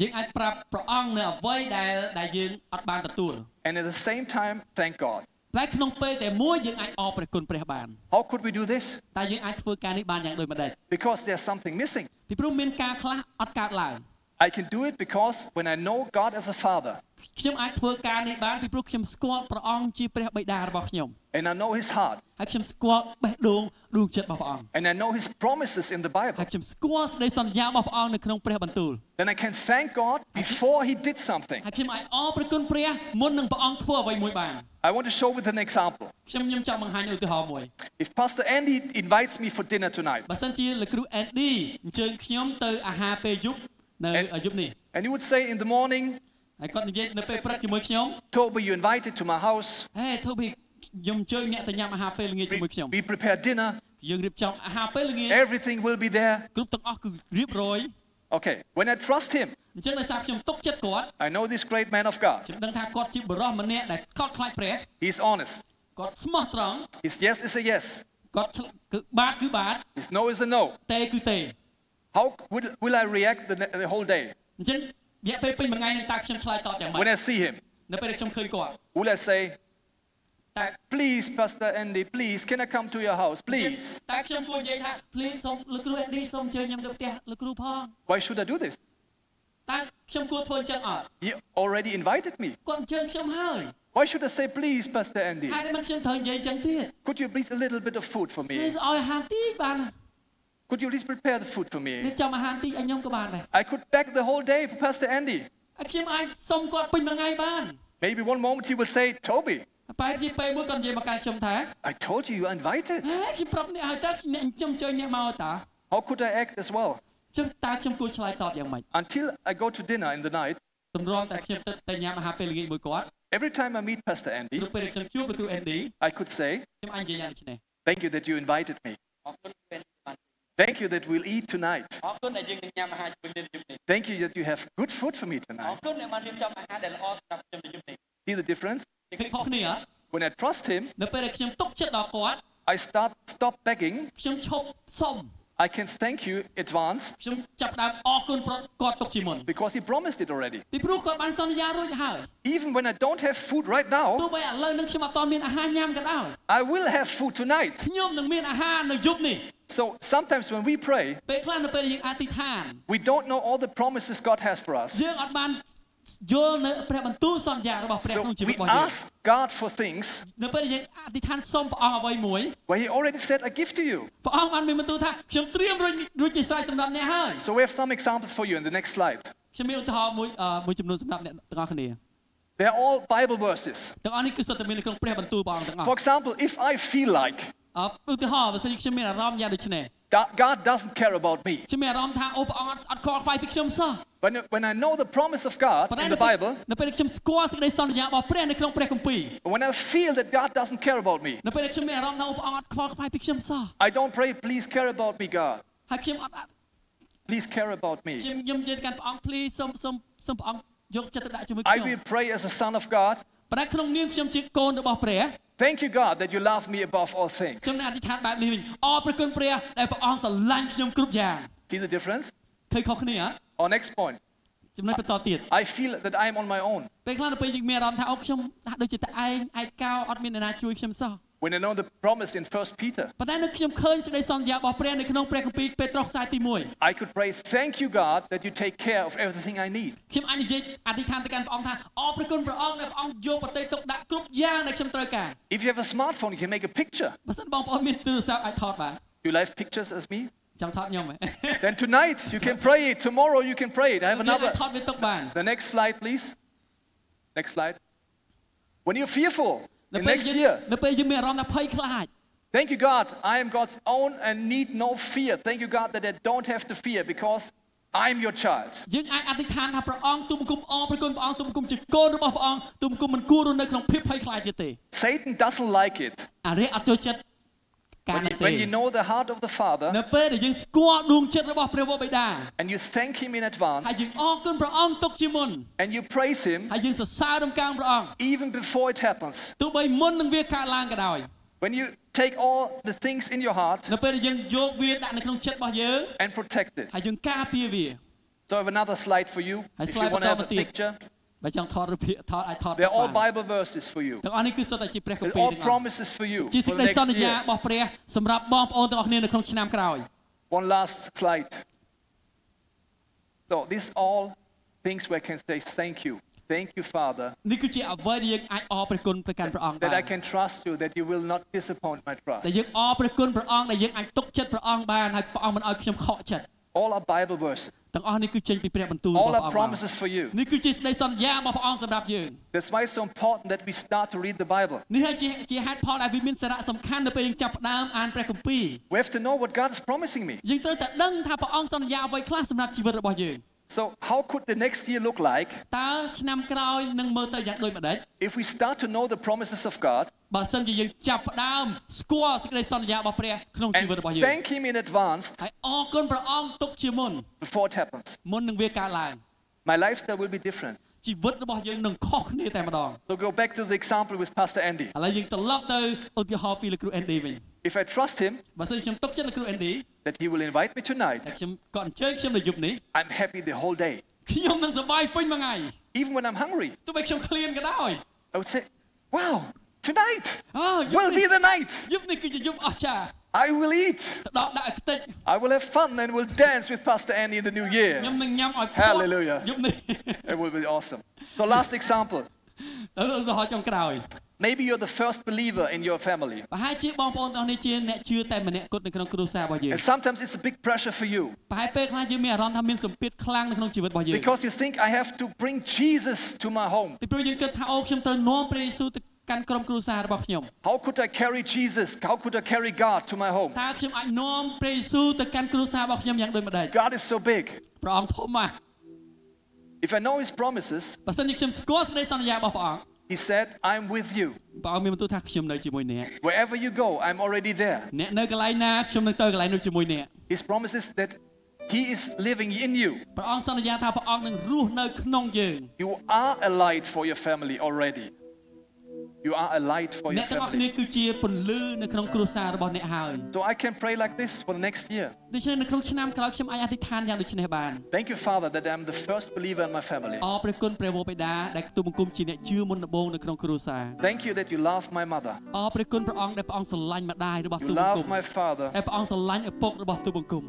Speaker 2: យើងអាចប្រាប់ព្រះអង្គនៅអ្វីដែលដែលយើងអត់បានទទួល
Speaker 3: and at the same time thank God.
Speaker 2: តែក្នុងពេលតែមួយយើងអាចអរព្រះគុណព្រះបាន
Speaker 3: How could we do this?
Speaker 2: តែយើងអាចធ្វើការនេះបានយ៉ាងដូចម្តេច
Speaker 3: Because there's something missing.
Speaker 2: ពីព្រោះមានការខ្លះអត់កើតឡើង
Speaker 3: I can do it because when I know God as a Father
Speaker 2: ខ្ញុំអាចធ្វើការនេះបានពីព្រោះខ្ញុំស្គាល់ព្រះអង្គជាព្រះបិតារបស់ខ្ញុំ
Speaker 3: and I know His heart
Speaker 2: ហើយខ្ញុំស្គាល់បេះដូងដួងចិត្តរបស់ព្រះអង្គ
Speaker 3: and I know His promises in the
Speaker 2: ហើ
Speaker 3: Bible,
Speaker 2: យខ្ញុំស្គាល់សេចក្តីសន្យារបស់ព្រះអង្គនៅក្នុងព្រះបន្ទូល
Speaker 3: then I can thank God before He did something.
Speaker 2: ហើយខ្ញុំអាចអរព្រះគុណព្រះមុននឹងព្រះអង្គធ្វើអ្វីមួយបាន
Speaker 3: I want to show with an example.
Speaker 2: ខ្ញុំខ្ញុំចង់បង្ហាញឧទាហរណ៍មួយ
Speaker 3: If Pastor Andy invites me for dinner tonight
Speaker 2: បើសិនជាលោកគ្រូ ND អញ្ជើញខ្ញុំទៅអាហារពេលយប់នៅ
Speaker 3: អេ
Speaker 2: យប់នេះ
Speaker 3: and he would say in the morning,
Speaker 2: ហើយគាត់និយាយនៅពេលព្រឹកជាមួយខ្ញុំ
Speaker 3: Toby, you invited to my house.
Speaker 2: ហេធូប៊ីខ្ញុំអញ្ជើញអ្នកទៅញ៉ាំអាហារពេលល្ងាច
Speaker 3: We,
Speaker 2: ជាមួយខ្ញុំ
Speaker 3: we prepare dinner.
Speaker 2: យើងរៀបចំអាហារពេលល្ងាច
Speaker 3: Everything will be there.
Speaker 2: គ្រប់ទាំងអស់គឺរៀបរយ
Speaker 3: Okay. When I trust him,
Speaker 2: អញ្ចឹងដោយសារខ្ញុំទុកចិត្តគាត់
Speaker 3: I know this great man of God.
Speaker 2: ខ្ញុំដឹងថាគាត់ជាបរិសម្នាក់ដែលកោតខ្លាចព្រះ
Speaker 3: He's honest.
Speaker 2: គាត់ស្មោះត្រង់
Speaker 3: His yes is a yes.
Speaker 2: គាត់ឆ្លគឺបាទគឺបាទ
Speaker 3: His no is a no.
Speaker 2: តេគឺតេ
Speaker 3: How would, will I react the, ne- the whole day
Speaker 2: អញ្ចឹងរយៈពេលពេញមួយថ្ងៃនឹងតើខ្ញុំឆ្លើយតបយ៉ាងម៉េ
Speaker 3: when
Speaker 2: ច
Speaker 3: I see him?
Speaker 2: នៅពេលដែលខ្ញុំឃើញគាត់
Speaker 3: Will I say,
Speaker 2: តើ
Speaker 3: please, Pastor Andy, please, can I come to your house, please?
Speaker 2: តើខ្ញុំគួរនិយាយថា please សូមលោកគ្រូ Andy សូមអញ្ជើញខ្ញុំទៅផ្ទះលោកគ្រូផង
Speaker 3: Why should I do this?
Speaker 2: តើខ្ញុំគួរធ្វើអញ្ចឹងអត់
Speaker 3: He already invited me.
Speaker 2: គាត់អញ្ជើញខ្ញុំហើយ
Speaker 3: Why should I say, please, Pastor Andy,
Speaker 2: ហើយមិនខ្ញុំត្រូវនិយាយអញ្ចឹងទៀត
Speaker 3: could you please a little bit of food for me?
Speaker 2: please ឲ្យអាហារតិចបាន
Speaker 3: Could you please prepare the food for
Speaker 2: នេះ
Speaker 3: me?
Speaker 2: ចំអាហារតិចឲ្យខ្ញុំក៏បានដែរ
Speaker 3: I could beg the whole day for Pastor Andy.
Speaker 2: ហើយខ្ញុំអាចសុំគាត់ពេញមួយថ្ងៃបាន
Speaker 3: Maybe one moment he will say, Toby,
Speaker 2: បែបជាពេលមួយគាត់និយាយមកកាន់ខ្ញុំថា
Speaker 3: I told you you are invited.
Speaker 2: ហេខ្ញុំប្រាប់អ្នកឲ្យតើខ្ញុំខ្ញុំអញ្ជើញអ្នកមកតើ
Speaker 3: How could I act as well?
Speaker 2: ចុះតើខ្ញុំគួរឆ្លើយតបយ៉ាងម៉េច
Speaker 3: Until I go to dinner in the night,
Speaker 2: ទម្រាំតែខ្ញុំទៅទៅញ៉ាំអាហារពេលល្ងាចមួយគាត់
Speaker 3: every time I meet Pastor
Speaker 2: ព្រោះ
Speaker 3: Andy,
Speaker 2: ពេលដែលខ្ញុំជួបលោកគ្រូ Andy
Speaker 3: I could say,
Speaker 2: ខ្ញុំអាចនិយាយយ៉ាងដូចនេះ
Speaker 3: Thank you that you invited me.
Speaker 2: អរគុណពេលបាន
Speaker 3: Thank you that we'll eat tonight.
Speaker 2: អរគុណដែលយើងនឹងញ៉ាំអាហារជាមួយគ្នាយប់នេះ
Speaker 3: Thank you that you have good food for me
Speaker 2: អរ
Speaker 3: tonight.
Speaker 2: គុណដែលបានរៀបចំអាហារដែលល្អសម្រាប់ខ្ញុំនៅយប់នេះ
Speaker 3: See the difference?
Speaker 2: និយាយខុសគ្នាហ៎
Speaker 3: When I trust him,
Speaker 2: នៅពេលដែលខ្ញុំទុកចិត្តដល់គាត់
Speaker 3: I start stop begging.
Speaker 2: ខ្ញុំឈប់សុំ
Speaker 3: I can thank you advanced
Speaker 2: ខ្ញុំចាប់ផ្ដើមអរគុណប្រគាត់ទុកជាមុន
Speaker 3: because he promised it already.
Speaker 2: ពីព្រោះគាត់បានសន្យារួចហើយ
Speaker 3: Even when I don't have food right now,
Speaker 2: ទោះបីឥឡូវនឹងខ្ញុំអត់ទាន់មានអាហារញ៉ាំក៏ដោយ
Speaker 3: I will have food tonight.
Speaker 2: ខ្ញុំនឹងមានអាហារនៅយប់នេះ
Speaker 3: So sometimes when we pray,
Speaker 2: ពេលខ្លះនៅពេលដែលយើងអធិដ្ឋាន
Speaker 3: we don't know all the promises God has for us.
Speaker 2: យើងអត់បាន យល់នៅព្រះបន្ទូលសន្យារបស់ព្រះ
Speaker 3: So
Speaker 2: ក្នុងជីវិត
Speaker 3: we
Speaker 2: របស់យើង
Speaker 3: ask God for things
Speaker 2: នៅពេលដែលយើងអធិដ្ឋានសូមព្រះអង្គអ្វីមួយ
Speaker 3: where He already said, I give to you.
Speaker 2: ព្រះអង្គបានមានបន្ទូលថាខ្ញុំត្រៀមរួចរួចជាស្រេចសម្រាប់អ្នកហើយ
Speaker 3: So we have some examples for you in the next slide.
Speaker 2: ខ្ញុំមានឧទាហរណ៍មួយអឺមួយចំនួនសម្រាប់អ្នកទាំងអស់គ្នា
Speaker 3: They're all Bible verses.
Speaker 2: ទាំងអស់នេះគឺសុទ្ធតែមាននៅក្នុងព្រះបន្ទូលព្រះអង្គទាំងអស់
Speaker 3: For example, if I feel like
Speaker 2: អឺឧទាហរណ៍បើសិនជាខ្ញុំមានអារម្មណ៍យ៉ាងដូចនេះ
Speaker 3: that God doesn't care about me,
Speaker 2: ខ្ញុំមានអារម្មណ៍ថាអូព្រះអង្គអត់ខ្វល់ខ្វាយពីខ្ញុំសោះ
Speaker 3: when, when I know the promise of God
Speaker 2: ប៉ុន្តែ
Speaker 3: in
Speaker 2: នៅ
Speaker 3: the Bible,
Speaker 2: នៅពេលដែលខ្ញុំស្គាល់សេចក្តីសន្យារបស់ព្រះនៅក្នុងព្រះគម្ពីរ
Speaker 3: when I feel that God doesn't care about me,
Speaker 2: នៅពេលដែលខ្ញុំមានអារម្មណ៍ថាអូព្រះអង្គអត់ខ្វល់ខ្វាយពីខ្ញុំសោះ
Speaker 3: I don't pray, please care about me, God.
Speaker 2: ហើយខ្ញុំអត់អត់
Speaker 3: Please care about
Speaker 2: ខ្ញុំ
Speaker 3: me.
Speaker 2: ខ្ញុំនិយាយទៅកាន់ព្រះអង្គ please សូមសូមសូមព្រះអង្គយកចិត្តទុកដាក់ជាមួយ
Speaker 3: I
Speaker 2: ខ្ញុំ
Speaker 3: will pray as a son of God.
Speaker 2: ប៉ុន្តែក្នុងនាមខ្ញុំជាកូនរបស់ព្រះ
Speaker 3: Thank you, God, that you love me above all things.
Speaker 2: ខ្ញុំនឹងអធិដ្ឋានបែបនេះវិញអរព្រះគុណព្រះដែលព្រះអង្គស្រឡាញ់ខ្ញុំគ្រប់យ៉ាង
Speaker 3: See the difference?
Speaker 2: ឃើញខុសគ្នាហ៎
Speaker 3: Our next point.
Speaker 2: ចំណុចបន្តទៀត
Speaker 3: I feel that I am on my own.
Speaker 2: ពេលខ្លះដល់ពេលយើងមានអារម្មណ៍ថាអូខ្ញុំដាក់ដូចជាតែឯងឯកោអត់មានអ្នកណាជួយខ្ញុំសោះ
Speaker 3: When I know the promise in 1 Peter,
Speaker 2: ប៉ុន្តែនៅខ្ញុំឃើញសេចក្តីសន្យារបស់ព្រះនៅក្នុងព្រះគម្ពីរពេត្រុសខ្សែទី1
Speaker 3: I could pray, Thank you, God, that you take care of everything I need.
Speaker 2: ខ្ញុំអាចនិយាយអធិដ្ឋានទៅកាន់ព្រះអង្គថាអរព្រះគុណព្រះអង្គដែលព្រះអង្គយកប្រតិទុកដាក់គ្រប់យ៉ាងដែលខ្ញុំត្រូវការ
Speaker 3: If you have a smartphone, you can make a picture.
Speaker 2: បើសិនបងប្អូនមានទូរស័ព្ទអាចថតបាន
Speaker 3: You like pictures as me?
Speaker 2: ចង់ថតខ្ញុំហ៎
Speaker 3: Then tonight you can pray it. Tomorrow you can pray it. I have
Speaker 2: ខ្ញុំអាច
Speaker 3: another.
Speaker 2: ថតវាទុកបាន
Speaker 3: The next slide, please. Next slide. When you're fearful
Speaker 2: នៅ
Speaker 3: in
Speaker 2: ពេល
Speaker 3: next
Speaker 2: យើង
Speaker 3: year,
Speaker 2: នៅពេលយើងមានអារម្មណ៍ថាភ័យខ្លាច
Speaker 3: thank you, God. I am God's own and need no fear. Thank you, God, that I don't have to fear because I'm your child.
Speaker 2: យើងអាចអធិដ្ឋានថាព្រះអង្គទូលបង្គំអរព្រះគុណព្រះអង្គទូលបង្គំជាកូនរបស់ព្រះអង្គទូលបង្គំមិនគួររស់នៅក្នុងភាពភ័យខ្លាចទៀតទេ
Speaker 3: Satan doesn't like it.
Speaker 2: អារៈអត់ចូលចិត្តការ
Speaker 3: When
Speaker 2: នេះ
Speaker 3: you,
Speaker 2: ទេ
Speaker 3: when you know the heart of the Father
Speaker 2: នៅពេលដែលយើងស្គាល់ដួងចិត្តរបស់ព្រះវរបិតា
Speaker 3: and you thank Him in advance
Speaker 2: ហើយយើងអរគុណព្រះអង្គទុកជាមុន
Speaker 3: and you praise Him
Speaker 2: ហើយយើងសរសើររំកាងព្រះអង្គ
Speaker 3: even before it happens,
Speaker 2: ទោះបីមុននឹងវាកើតឡើងក៏ដោយ
Speaker 3: when you take all the things in your heart
Speaker 2: នៅពេលដែលយើងយកវាដាក់នៅក្នុងចិត្តរបស់យើង
Speaker 3: and protect it.
Speaker 2: ហើយយើងការពារវា
Speaker 3: So I have another slide for you.
Speaker 2: Hey,
Speaker 3: If you
Speaker 2: slide
Speaker 3: want to have a
Speaker 2: បន្តទៀត
Speaker 3: picture,
Speaker 2: បើចង់ថតរូបភាពថតអាចថត
Speaker 3: they're all
Speaker 2: បាន
Speaker 3: Bible verses for you.
Speaker 2: ទាំងអស់នេះគឺសុទ្ធតែជាព្រះគ
Speaker 3: They're
Speaker 2: ម្ពីរ
Speaker 3: all
Speaker 2: ទាំងអស់
Speaker 3: promises for you
Speaker 2: ជាសេច
Speaker 3: for the
Speaker 2: ក្តីស
Speaker 3: next
Speaker 2: ន្យា
Speaker 3: year.
Speaker 2: របស់ព្រះសម្រាប់បងប្អូនទាំងអស់គ្នានៅក្នុងឆ្នាំក្រោយ
Speaker 3: One last slide. So these are all things where I can say thank you. Thank you, Father,
Speaker 2: នេះគឺជាអ្វីដែលយើងអាចអរព្រះគុណព្រះកាន់ព្រះអង្គបាន
Speaker 3: that I can trust you, that you will not disappoint my
Speaker 2: តែ
Speaker 3: trust.
Speaker 2: លយើងអរព្រះគុណព្រះអង្គដែលយើងអាចទុកចិត្តព្រះអង្គបានហើយព្រះអង្គមិនឲ្យខ្ញុំខកចិត្ត
Speaker 3: All are Bible verses.
Speaker 2: ទាំងអស់នេះគឺចេញពីព្រះបន្ទូលរបស់
Speaker 3: All
Speaker 2: ព្រះអ
Speaker 3: are
Speaker 2: ង្គបាន
Speaker 3: promises for you.
Speaker 2: នេះគឺជាសេចក្តីសន្យារបស់ព្រះអង្គសម្រាប់យើង
Speaker 3: That's why it's so important that we start to read the Bible.
Speaker 2: នេះហើយជាជាហេតុផលដែលវាមានសារៈសំខាន់នៅពេលយើងចាប់ផ្ដើមអានព្រះគម្ពីរ
Speaker 3: We have to know what God is promising me.
Speaker 2: យើងត្រូវតែដឹងថាព្រះអង្គសន្យាអ្វីខ្លះសម្រាប់ជីវិតរបស់យើង
Speaker 3: So, how could the next year look like
Speaker 2: តើឆ្នាំក្រោយនឹងមើលទៅយ៉ាងដូចម្ដេច
Speaker 3: if we start to know the promises of God
Speaker 2: បើសិនជាយើងចាប់ផ្ដើមស្គាល់សេចក្តីសន្យារបស់ព្រះក្នុងជី
Speaker 3: and
Speaker 2: វិតរបស់យើង
Speaker 3: thank Him in advance
Speaker 2: ហើយអរគុណព្រះអង្គទុកជាមុន
Speaker 3: before it happens?
Speaker 2: មុននឹងវាកើតឡើង
Speaker 3: My lifestyle will be different.
Speaker 2: ជីវិតរបស់យើងនឹងខុសគ្នាតែម្ដង
Speaker 3: So, go back to the example with Pastor Andy.
Speaker 2: ឥឡូវយើងត្រឡប់ទៅឧទាហរណ៍ពីលោកគ្រូ Andy វិញ
Speaker 3: If I trust Him
Speaker 2: បើសិនជាខ្ញុំទុកចិត្តលោកគ្រូ Andy
Speaker 3: that He will invite me tonight,
Speaker 2: តែខ្ញុំក៏អញ្ជើញខ្ញុំនៅយប់នេះ
Speaker 3: I'm happy the whole day.
Speaker 2: ខ្ញុំនឹងសប្បាយពេញមួយថ្ងៃ
Speaker 3: Even when I'm hungry,
Speaker 2: ទោះបីខ្ញុំឃ្លានក៏ដោយ
Speaker 3: I would say, Wow, tonight
Speaker 2: អូយប់
Speaker 3: will
Speaker 2: នេះ
Speaker 3: be the night.
Speaker 2: យប់នេះគឺជាយប់អស្ចារ្យ
Speaker 3: I will eat.
Speaker 2: ទៅដកដាក់ឲ្យខ្ទេច
Speaker 3: I will have fun and will dance with Pastor Andy in the new
Speaker 2: ខ្ញុំ
Speaker 3: year.
Speaker 2: នឹងញ៉ាំឲ្យ
Speaker 3: Hallelujah.
Speaker 2: យប់នេះ
Speaker 3: It will be awesome. So, last example
Speaker 2: ទៅរហូតចុងក្រោយ
Speaker 3: maybe you're the first believer in your family.
Speaker 2: ប្រហែលជាបងប្អូនទាំងអស់នេះជាអ្នកជឿតែម្នាក់គត់នៅក្នុងគ្រួសាររបស់យើង
Speaker 3: And sometimes it's a big pressure for you
Speaker 2: ប្រហែលពេលខ្លះយើងមានអារម្មណ៍ថាមានសម្ពាធខ្លាំងនៅក្នុងជីវិតរបស់យើង
Speaker 3: because you think I have to bring Jesus to my home.
Speaker 2: ពីព្រោះយើងគិតថាអូខ្ញុំត្រូវនាំព្រះយេស៊ូវទៅកាន់ក្រុមគ្រួសាររបស់ខ្ញុំ
Speaker 3: How could I carry Jesus? How could I carry God to my home?
Speaker 2: តើខ្ញុំអាចនាំព្រះយេស៊ូវទៅកាន់គ្រួសាររបស់ខ្ញុំយ៉ាងដូចម្ដេច
Speaker 3: God is so big.
Speaker 2: ព្រះអង្គធំណាស់
Speaker 3: If I know His promises,
Speaker 2: បើសិនជាខ្ញុំស្គាល់សេចក្តីសន្យារបស់ព្រះអង្គ
Speaker 3: He said, I'm with you.
Speaker 2: ព្រះអង្គមានបន្ទូលថាខ្ញុំនៅជាមួយអ្នក
Speaker 3: Wherever you go, I'm already there.
Speaker 2: អ្នកនៅកន្លែងណាខ្ញុំនឹងទៅកន្លែងនោះជាមួយអ្នក
Speaker 3: His promise is that He is living in you.
Speaker 2: ព្រះអង្គសន្យាថាព្រះអង្គនឹងរស់នៅក្នុងយើង
Speaker 3: You are a light for your family already. You are a light for
Speaker 2: អ្នក
Speaker 3: your
Speaker 2: ទាំងអស់គ្នា
Speaker 3: family.
Speaker 2: គឺជាពន្លឺនៅក្នុងគ្រួសាររបស់អ្នកហើយ
Speaker 3: So I can pray like this for the next year.
Speaker 2: ដូច្នេះនៅក្នុងឆ្នាំក្រោយខ្ញុំអាចអធិដ្ឋានយ៉ាងដូចនេះបាន
Speaker 3: Thank you, Father, that I'm the first believer in my family.
Speaker 2: អរព្រះគុណព្រះវរបិតាដែលទូលបង្គំជាអ្នកជឿមុនដំបូងនៅក្នុងគ្រួសារ
Speaker 3: Thank you that you love my mother.
Speaker 2: អរព្រះគុណព្រះអង្គដែលព្រះអង្គស្រឡាញ់ម្ដាយរបស់
Speaker 3: You
Speaker 2: ទូលបង្គំ
Speaker 3: love my father,
Speaker 2: ហើយព្រះអង្គស្រឡាញ់ឪពុករបស់ទូលបង្គំ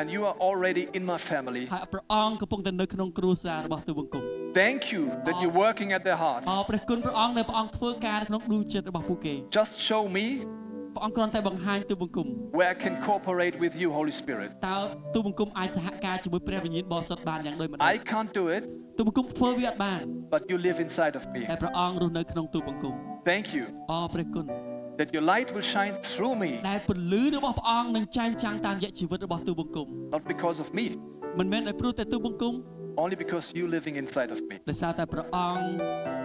Speaker 3: and you are already in my family.
Speaker 2: Ah. ហើយព្រះអង្គកំពុងតែនៅក្នុងគ្រួសាររបស់ទូលបង្គំ
Speaker 3: thank you that you're working at their hearts.
Speaker 2: អរព្រះគុណព្រះអង្គដែលព្រះអង្គធ្វើការក្នុងដួងចិត្តរបស់ពួកគេ
Speaker 3: Just show me
Speaker 2: ព្រះអង្គគ្រាន់តែបង្ហាញទូលបង្គំ
Speaker 3: where I can cooperate with you, Holy Spirit.
Speaker 2: តើទូលបង្គំអាចសហការជាមួយព្រះវិញ្ញាណបរិសុទ្ធបានយ៉ាងដូចម្តេច
Speaker 3: I can't do it,
Speaker 2: ទូលបង្គំធ្វើវាអត់បាន
Speaker 3: but you live inside of me.
Speaker 2: តែព្រះអង្គរស់នៅក្នុងទូលបង្គំ
Speaker 3: Thank you
Speaker 2: អរព្រះគុណ
Speaker 3: that your light will shine through me,
Speaker 2: ដែលពន្លឺរបស់ព្រះអង្គនឹងចែងចាំងតាមរយៈជីវិតរបស់ទូលបង្គំ
Speaker 3: not because of me,
Speaker 2: មិនមែនដោយព្រោះតែទូលបង្គំ
Speaker 3: only because you living inside of me.
Speaker 2: ដោយសារតែព្រះអង្គ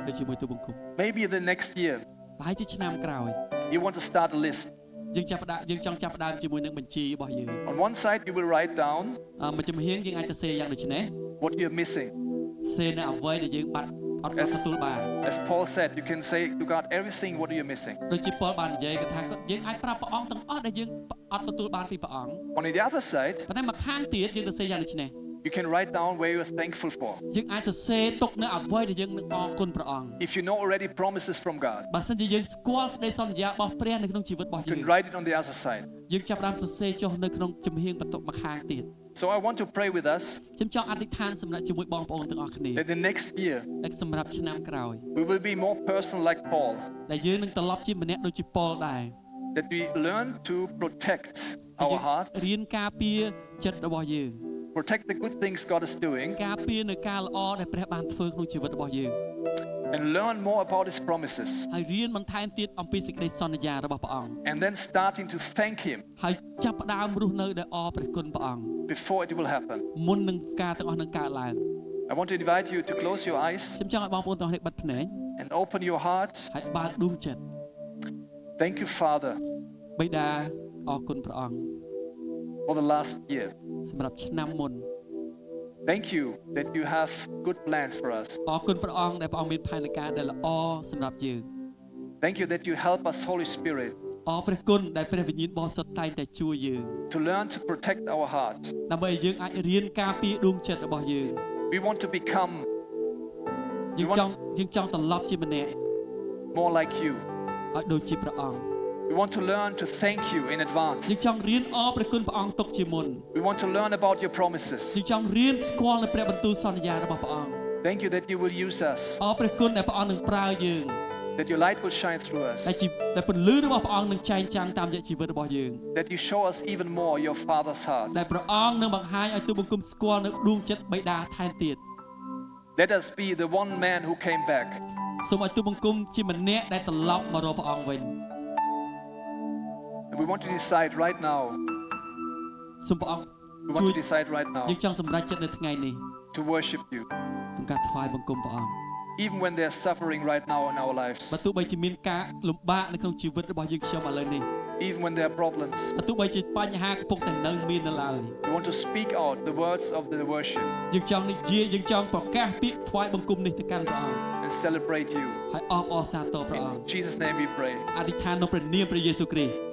Speaker 2: នៅជាមួយទូលបង្គំ
Speaker 3: Maybe the next year,
Speaker 2: ប្រហែលជាឆ្នាំក្រោយ
Speaker 3: you want to start a list.
Speaker 2: យើងចាប់ផ្ដើមយើងចង់ចាប់ផ្ដើមជាមួយនឹងបញ្ជីរបស់យើង
Speaker 3: On one side, you will write down
Speaker 2: អឺមួយចំហៀងយើងអាចទៅសេយ៉ាងដូចនេះ
Speaker 3: what you're missing.
Speaker 2: សេនៅអ្វីដែលយើងបាត់អត់បាន
Speaker 3: Yes.
Speaker 2: ទទួលបាន
Speaker 3: As Paul said, you can say to God everything what you're missing.
Speaker 2: ដូចជាពលបាននិយាយគាត់ថាគាត់យើងអាចប្រាប់ព្រះអង្គទាំងអស់ដែលយើងអត់ទទួលបានពីព្រះអង្គ
Speaker 3: On the other side,
Speaker 2: ប៉ុន្តែមកខាងទៀតយើងទៅសេយ៉ាងដូចនេះ
Speaker 3: you can write down where you're thankful for.
Speaker 2: យើងអាចសរសេរទុកនៅអ្វីដែលយើងនឹងអរគុណព្រះអង្គ
Speaker 3: If you know already promises from God,
Speaker 2: បើសិនជាយើងស្គាល់សេចក្តីសន្យារបស់ព្រះនៅក្នុងជីវិតរបស់យើ
Speaker 3: you
Speaker 2: ង
Speaker 3: can write it on the other side.
Speaker 2: យើងចាប់ផ្ដើមសរសេរចុះនៅក្នុងចំហៀងបន្ទប់មកខាងទៀត
Speaker 3: So I want to pray with us
Speaker 2: ខ្ញុំចង់អធិដ្ឋានសម្រាប់ជាមួយបងប្អូនទាំងអស់គ្នា
Speaker 3: that the next year
Speaker 2: តែសម្រាប់ឆ្នាំក្រោយ
Speaker 3: we will be more personal like Paul,
Speaker 2: ដែលយើងនឹងត្រឡប់ជាម្នាក់ដូចជាប៉ុលដែរ
Speaker 3: that we learn to protect
Speaker 2: ដែលយើ
Speaker 3: our
Speaker 2: ង
Speaker 3: hearts,
Speaker 2: រៀនការពារចិត្តរបស់យើង
Speaker 3: protect the good things God is doing,
Speaker 2: ការពារនៅការល្អដែលព្រះបានធ្វើក្នុងជីវិតរបស់យើង
Speaker 3: and learn more about His promises,
Speaker 2: ហើយរៀនបន្ថែមទៀតអំពីសេចក្តីសន្យារបស់ព្រះអង្គ
Speaker 3: and then starting to thank Him
Speaker 2: ហើយចាប់ផ្ដើមរស់នៅដោយអរព្រះគុណព្រះអង្គ
Speaker 3: before it will happen.
Speaker 2: មុននឹងការទាំងអស់នឹងកើតឡើង
Speaker 3: I want to invite you to close your eyes
Speaker 2: ខ្ញុំចង់ឲ្យបងប្អូនទាំងអស់នេះបិទភ្នែក
Speaker 3: and open your heart.
Speaker 2: ហើយបើកដួងចិត្ត
Speaker 3: Thank you, Father,
Speaker 2: បិតាអរគុណព្រះអង្គ
Speaker 3: for the last year.
Speaker 2: សម្រាប់ឆ្នាំមុន
Speaker 3: Thank you that you have good plans for us.
Speaker 2: អរគុណព្រះអង្គដែលព្រះអង្គមានផែនការដែលល្អសម្រាប់យើង
Speaker 3: Thank you that you help us, Holy Spirit,
Speaker 2: អរព្រះគុណដែលព្រះវិញ្ញាណបរិសុទ្ធតែងតែជួយយើង
Speaker 3: to learn to protect our heart.
Speaker 2: ដើម្បីឲ្យយើងអាចរៀនការពារដួងចិត្តរបស់យើង
Speaker 3: We want to become
Speaker 2: យើងចង់យើងចង់ត្រឡប់ជាម្នាក់
Speaker 3: more like you.
Speaker 2: ឲ្យដូចជាព្រះអង្គ
Speaker 3: We want to learn to thank you in advance.
Speaker 2: យើងចង់រៀនអរព្រះគុណព្រះអង្គទុកជាមុន
Speaker 3: We want to learn about your promises.
Speaker 2: យើងចង់រៀនស្គាល់នូវព្រះបន្ទូលសន្យារបស់ព្រះអង្គ
Speaker 3: Thank you that you will use us,
Speaker 2: អរព្រះគុណដែលព្រះអង្គនឹងប្រើយើង
Speaker 3: that your light will shine through us,
Speaker 2: ដែលជីដែលពន្លឺរបស់ព្រះអង្គនឹងចែងចាំងតាមរយៈជីវិតរបស់យើង
Speaker 3: that you show us even more your Father's heart.
Speaker 2: ដែលព្រះអង្គនឹងបង្ហាញឲ្យទូលបង្គំស្គាល់នៅដួងចិត្តបិតាថែមទៀត
Speaker 3: Let us be the one man who came back.
Speaker 2: សូមឲ្យទូលបង្គំជាម្នាក់ដែលត្រឡប់មករកព្រះអង្គវិញ
Speaker 3: And we want to decide right now,
Speaker 2: សូមព្រះអង្គ
Speaker 3: we want
Speaker 2: ជួយ
Speaker 3: to decide right
Speaker 2: យើ
Speaker 3: now
Speaker 2: ងចង់សម្រេចចិត្តនៅថ្ងៃនេះ
Speaker 3: to worship you,
Speaker 2: ក្នុងការថ្វាយបង្គំព្រះអង្គ
Speaker 3: even when there's suffering right now in our
Speaker 2: បើ
Speaker 3: lives,
Speaker 2: ទោះបីជាមានការលំបាកនៅក្នុងជីវិតរបស់យើងខ្ញុំឥឡូវនេះ
Speaker 3: even when there are problems.
Speaker 2: បើទោះបីជាបញ្ហាកំពុងតែនៅមាននៅឡើយ
Speaker 3: We want to speak out the words of the worship
Speaker 2: យើងចង់និយាយយើងចង់ប្រកាសពាក្យថ្វាយបង្គំនេះទៅកាន់ព្រះអង្គ
Speaker 3: and celebrate you.
Speaker 2: ហើយអបអរសាទរព្រះអង្គ
Speaker 3: In Jesus' name we pray.
Speaker 2: អធិដ្ឋានក្នុងព្រះនាមព្រះយេស៊ូវគ្រីស្ទ